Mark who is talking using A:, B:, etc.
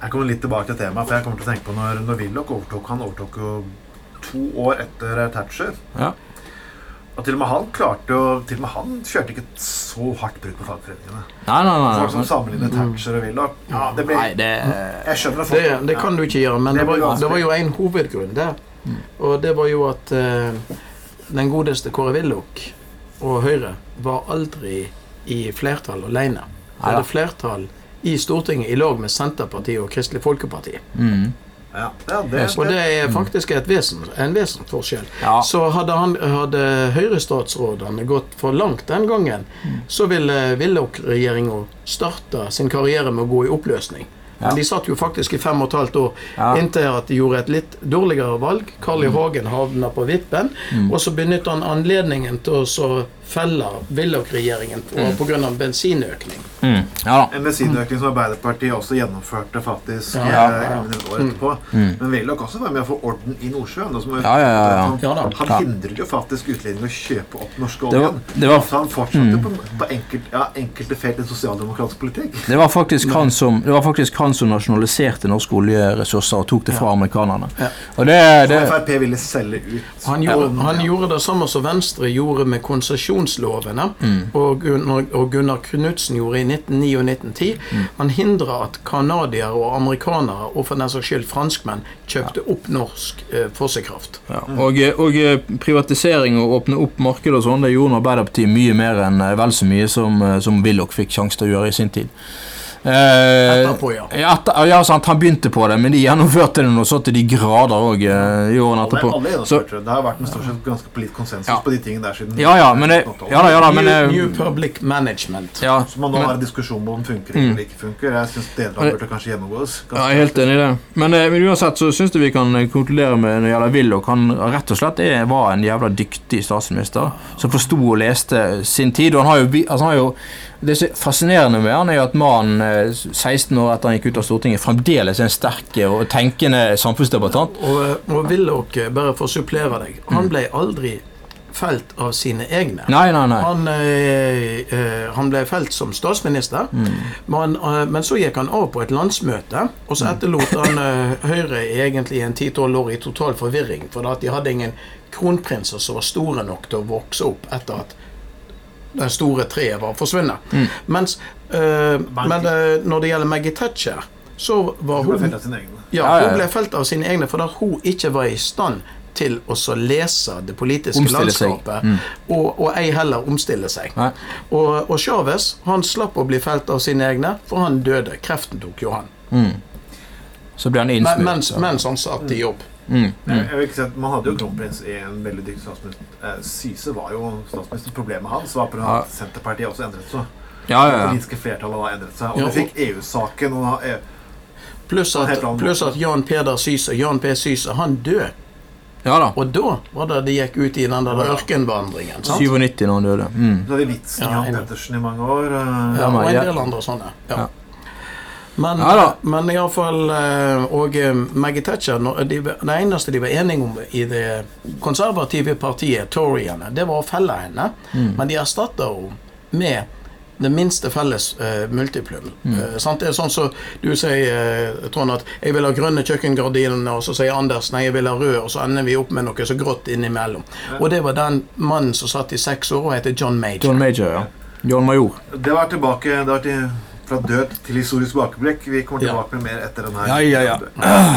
A: Jeg kommer litt tilbake til temaet, for jeg kommer til å tenke på når, når Willoch overtok. Han overtok jo to år etter eh, Thatcher.
B: Ja.
A: Og til og med han klarte jo Til og med han kjørte ikke et så hardt brudd på fagforeningene.
B: Nei, nei, nei.
A: Folk
B: nei,
A: som
C: Mm.
A: sammenligner Thatcher og Willoch ja, det blir-
B: nei det,
A: Jeg skjønner at folk
C: Det, det kan du ikke gjøre, men
A: Det
C: det var,
A: blir
C: jo-
A: vanskelig.
C: det var jo en hovedgrunn der.
B: Mm.
C: Og det var jo at eh, den godeste Kåre Willoch og Høyre var aldri i flertall alene. De
B: Neida.
C: hadde flertall i Stortinget i lag med Senterpartiet og Kristelig Folkeparti.
B: mm.
A: ja, ja, det,
C: Og det
A: det,
C: er faktisk et vesen, en vesensforskjell.
B: Ja.
C: Så hadde, han- hadde Høyre-statsrådene gått for langt den gangen,
B: Mm.
C: så ville Willoch-regjeringa starta sin karriere med å gå i oppløsning. Men
B: Ja.
C: de satt jo faktisk i fem og et halvt år
B: Ja. Mm.
C: inntil at de gjorde et litt dårligere valg. Carl I. Hagen havna på vippen, og så benytta han anledningen til å så felle Willoch-regjeringen på- på grunn av bensinøkning.
B: Mm. Ja da.
A: en medisinøkning som Arbeiderpartiet også gjennomførte faktisk eh, ja,
C: Ja,
B: ja,
C: ja.
A: et år etterpå. Men Willoch også var med å få orden i Nordsjøen. og som er-
B: Mm. Ja, ja, ja, ja.
A: Han,
C: Ja da.
A: han
B: Ja.
A: hindret jo faktisk utlendinger å kjøpe opp norske
B: Det var-
A: oljen.
B: det var- Mm.
A: Så han fortsatte på, på enkelt, ja, enkelte felt i sosialdemokratisk politikk.
B: Det var, faktisk han som, det var faktisk han som nasjonaliserte norske oljeressurser og tok det fra amerikanerne.
C: Ja.
B: Og det, det
A: Og Frp ville selge ut.
C: Han gjorde, han gjorde det samme som Venstre gjorde med konsesjonslovene,
B: Mm.
C: og, Gunnar, og Gunnar Knudsen gjorde i 1909 og 1910.
B: Mm.
C: Han hindra at canadiere og amerikanere, og for den saks skyld franskmenn, kjøpte opp norsk eh, fossekraft.
B: ja. og, eh, og privatisering og åpne opp markedet og sånn, det gjorde Arbeiderpartiet mye mer enn eh, vel så mye som, eh, som Willoch fikk sjanse til å gjøre i sin tid. Eh,
C: Etterpå, ja.
B: Ja, etter, ja sant, han begynte på det, men de gjennomførte det nå så til de grader òg eh, i
A: Alle,
B: årene etterpå.
A: alle er
B: Så,
A: gjennomført det. Det har vært en stort sett ganske politisk konsensus
B: Ja.
A: på de tingene der siden
B: ja, ja, men det, ja da, ja da, men
C: New,
B: eh,
C: New Public Management.
B: ja,
A: Så man nå har en diskusjon om den funker eller ikke funker. Jeg synes deler av det burde kanskje gjennomgås.
B: Mm. Ja, jeg er helt enig i det. Men, eh, men uansett så syns jeg vi kan eh, konkludere med når det gjelder Willoch. Han rett og slett er, var en jævla dyktig statsminister som forsto og leste sin tid. Og han har jo, vi- altså han har jo Det som er fascinerende med han er jo at mannen eh, 16 år etter han gikk ut av Stortinget, fremdeles er en sterk og tenkende samfunnsdebattant.
C: Og, og Willoch, eh, bare for å supplere deg, han ble aldri felt av sine egne.
B: Nei, nei, nei.
C: Han, eh, eh, han ble felt som statsminister,
B: Mm.
C: men, eh, men så gikk han av på et landsmøte. Og så etterlot han eh, Høyre egentlig en 10-12 år i total forvirring, for at de hadde ingen kronprinser som var store nok til å vokse opp etter at det store treet var forsvunnet. Mens eh, men, eh, når det gjelder Maggie Thatcher, så var
A: Hun ble
C: hun
A: felt av sine egne.
C: ja,
B: Ja, ja, ja.
C: Hun ble felt av sine egne fordi hun ikke var i stand til å så lese det politiske
B: Omstille seg. Mm.
C: landskapet. Og, og ei heller omstille seg.
B: Nei.
C: Og, og Chávez han slapp å bli felt av sine egne, for han døde. Kreften tok jo han.
B: Mm. Så ble han
C: Men,
B: innsmurt.
C: mens,
B: så-
C: mens han satt i jobb.
B: Mm.
A: Jeg, jeg vil Eh, ikke si at Man hadde jo kronprins i en veldig dyktig statsminister. Eh, Syse var jo statsminister. Problemet hans var på grunn av at Senterpartiet også endret seg.
B: Ja,
A: Det
B: ja, ja.
A: politiske flertallet har endret seg.
C: Ja,
A: Og
C: og-
A: du fikk EU-saken. og da eh, er-
C: Pluss at,
A: Helt annen måte.
C: pluss at Jan Peder Syse, Jan P. Syse, han døde.
B: ja da.
C: Og da var det de gikk ut i den der ørkenvandringen. Sant?
B: 97 når han døde. Mm.
A: Så hadde vi vitsen
C: Ja,
A: med Jan
C: enig.
A: Pettersen i mange år. eh,
C: Ja, og en
B: ja.
C: del andre sånne. Ja.
B: Ja.
C: Men,
B: Ja da.
C: men iallfall Og eh, Maggie Thatcher når de, Det eneste de var enige om i det konservative partiet, toryene, det var å felle henne.
B: Mm.
C: Men de erstatta henne med det minste felles eh, multiplum.
B: Mm.
C: Eh, sant? Det er sånn som du sier, eh, Trond, at 'jeg vil ha grønne kjøkkengardiner', og så sier Anders 'nei, jeg vil ha rød', og så ender vi opp med noe så grått innimellom. Og det var den mannen som satt i seks år og heter John Major.
B: John Major, ja. John Major.
A: Det var tilbake det var til, fra død til historisk bakeblikk. Vi kommer
C: Ja.
A: tilbake med mer etter den her.
B: Ja, ja, ja.